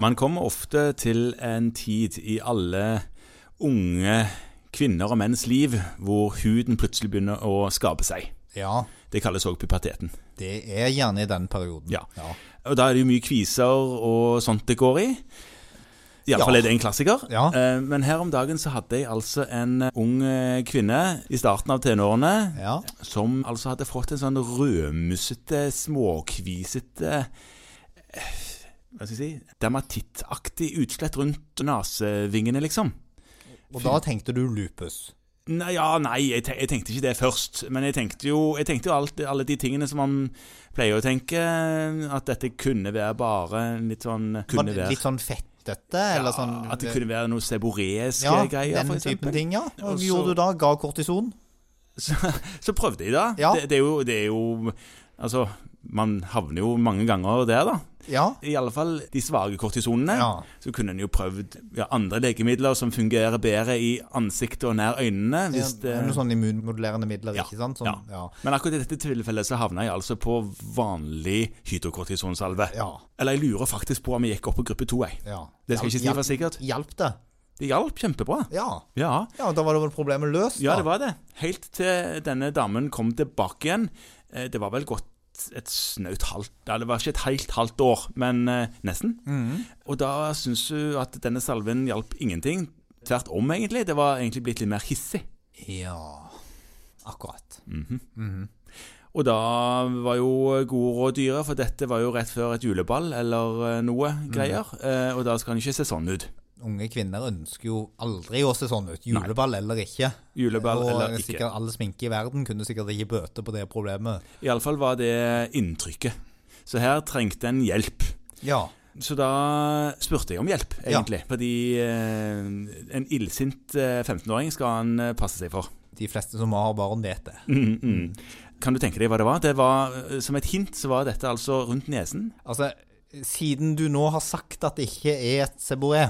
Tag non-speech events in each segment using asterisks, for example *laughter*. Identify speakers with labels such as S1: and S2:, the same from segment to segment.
S1: Man kommer ofte til en tid i alle unge kvinner og menns liv hvor huden plutselig begynner å skape seg.
S2: Ja,
S1: Det kalles òg puberteten.
S2: det er gjerne i den perioden.
S1: Ja. Og da er det jo mye kviser og sånt det går i. Iallfall
S2: Ja.
S1: er det en klassiker.
S2: Ja.
S1: Eh, Men her om dagen så hadde jeg altså en ung eh, kvinne i starten av tenårene
S2: Ja.
S1: som altså hadde fått en sånn rødmussete, småkvisete eh, Hva skal jeg si Dermatittaktig utslett rundt nesevingene, liksom.
S2: Og da tenkte du lupus.
S1: Nei, ja, nei jeg, te jeg tenkte ikke det først. Men jeg tenkte jo, jeg tenkte jo alt, alle de tingene som man pleier å tenke. At dette kunne være bare en litt sånn
S2: Var
S1: kunne
S2: det
S1: være,
S2: Litt sånn fettete, eller sånn
S1: At det kunne være noe seboreiske
S2: ja,
S1: greier, for
S2: den typen
S1: eksempel.
S2: ting, ja. Og
S1: Og så-
S2: gjorde du da? Ga kortison?
S1: Så prøvde jeg, da.
S2: Ja.
S1: Det, det, er jo, det er jo Altså, man havner jo mange ganger der, da.
S2: Ja.
S1: I alle fall de svake kortisonene.
S2: Ja.
S1: Så kunne en jo prøvd ja, andre legemidler som fungerer bedre i ansiktet og nær øynene. Hvis
S2: Det er
S1: det,
S2: noen sånne immunmodulerende midler,
S1: Ja,
S2: ikke sant? Sånn, ja.
S1: Men akkurat i dette tilfellet så havna jeg altså på vanlig hydrokortisonsalve.
S2: Ja.
S1: Eller jeg lurer faktisk på om jeg gikk opp på gruppe to, jeg.
S2: ja.
S1: Det skal jeg ikke si for sikkert.
S2: Hjalp det?
S1: Det hjalp kjempebra.
S2: Ja.
S1: Ja.
S2: ja, da var det vel problemet løst, da?
S1: ja, det var det. Helt til denne damen kom tilbake igjen. Eh, Det var vel gått et snaut halvt ja, Det var ikke et helt halvt år, men eh, nesten.
S2: Mhm.
S1: Og da syns hun at denne salven hjalp ingenting. Tvert om, egentlig. Det var egentlig blitt litt mer hissig.
S2: Ja, akkurat.
S1: Og da var jo gode råd dyre, for dette var jo rett før et juleball eller eh, noe greier. Eh, Og da skal den ikke se sånn ut.
S2: Unge kvinner ønsker jo aldri å se sånn ut. Juleball eller ikke.
S1: Juleball
S2: og
S1: eller ikke.
S2: sikkert all sminke i verden kunne sikkert ikke bøte på det problemet.
S1: Iallfall var det inntrykket. Så her trengte en hjelp.
S2: Ja.
S1: Så da spurte jeg om hjelp, egentlig. Fordi eh, en illsint eh, 15-åring skal han eh, passe seg for. *laughs*
S2: De fleste som har barn, vet det.
S1: Mm, mm. Kan du tenke deg hva det var? Det var, eh, Som et hint så var dette altså rundt nesen.
S2: Altså, siden du nå har sagt at det ikke er et seboe,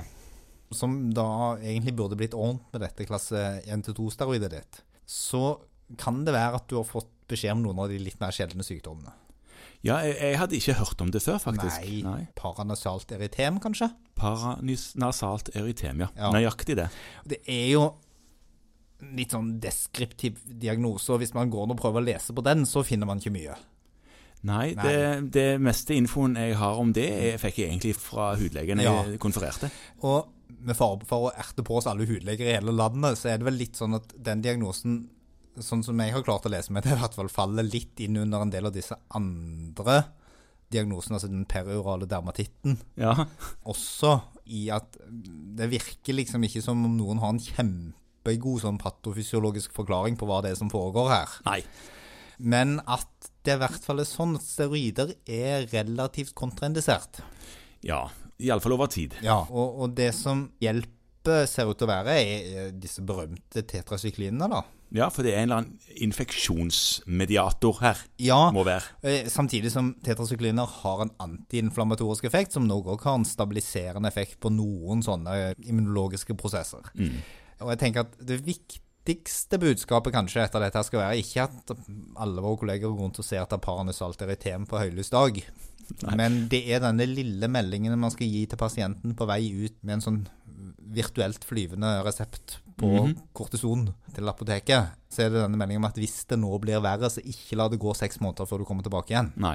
S2: som da egentlig burde blitt ordent med dette klasse 1-2-steroidet ditt, så kan det være at du har fått beskjed om noen av de litt mer sjeldne sykdommene.
S1: Ja, jeg, jeg hadde ikke hørt om det før, faktisk.
S2: Nei, paranasalt eritem, kanskje?
S1: Paranasalt eritem, ja.
S2: Ja.
S1: Nøyaktig det.
S2: Det er jo litt sånn deskriptiv diagnose, og hvis man går og prøver å lese på den, så finner man ikke mye.
S1: Nei,
S2: Nei.
S1: Det, det meste infoen jeg har om det, jeg fikk jeg egentlig fra hudlegen jeg konfererte.
S2: Og med fare for å erte på oss alle hudleger i hele landet, så er det vel litt sånn at den diagnosen, sånn som jeg har klart å lese meg til, i hvert fall faller litt inn under en del av disse andre diagnosene, altså den periorale dermatitten,
S1: Ja.
S2: også i at det virker liksom ikke som om noen har en kjempegod sånn patofysiologisk forklaring på hva det er som foregår her.
S1: Nei.
S2: Men at det i hvert fall er sånn at steroider er relativt kontraindisert.
S1: Ja. Iallfall over tid.
S2: Ja, og, og det som hjelper ser ut til å være, er er disse berømte tetrasyklinene, da.
S1: Ja, for det er en eller annen infeksjonsmediator her.
S2: Ja,
S1: Må være.
S2: eh, samtidig som tetrasykliner har en antiinflammatorisk effekt, som nok også har en stabiliserende effekt på noen sånne immunologiske prosesser. Og jeg tenker at det viktigste budskapet kanskje etter dette her skal være ikke at alle våre kolleger går rundt og ser etter paranasalt eritem på høylys dag, men det er denne lille meldingen man skal gi til pasienten på vei ut med en sånn virtuelt flyvende resept på kortison til apoteket. Så er det denne meldingen om at hvis det nå blir verre, så ikke la det gå seks måneder før du kommer tilbake igjen.
S1: Nei.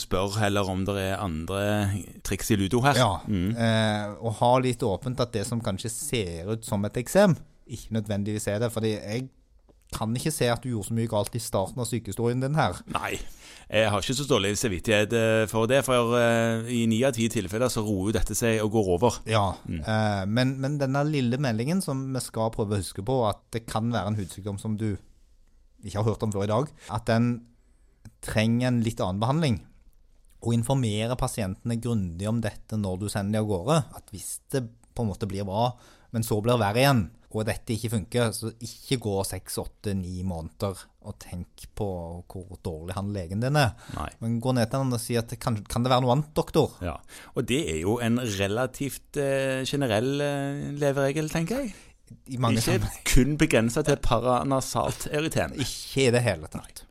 S1: Spør heller om det er andre triks i ludo her.
S2: Ja, eh, og ha litt åpent at det som kanskje ser ut som et eksem, ikke nødvendigvis er det. fordi jeg kan ikke se at du gjorde så mye galt i starten av sykehistorien din her.
S1: Nei. Jeg har ikke så dårlig samvittighet eh, for det, for eh, i ni av ti tilfeller så roer jo dette seg og går over.
S2: Ja, eh, men, men denne lille meldingen som vi skal prøve å huske på, at det kan være en hudsykdom som du ikke har hørt om før i dag, at den trenger en litt annen behandling. Og informere pasientene grundig om dette når du sender dem av gårde. At hvis det på en måte blir bra, men så blir det verre igjen, og dette ikke funker, så ikke gå seks, åtte, ni måneder og tenk på hvor dårlig han legen din er.
S1: Nei.
S2: Men gå ned til han og si at kan, kan det være noe annet, doktor?
S1: Ja. Og det er jo en relativt eh, generell eh, leveregel, tenker jeg.
S2: I mange
S1: Ikke kun begrensa til paranasalt eritem.
S2: Ikke i det hele tatt.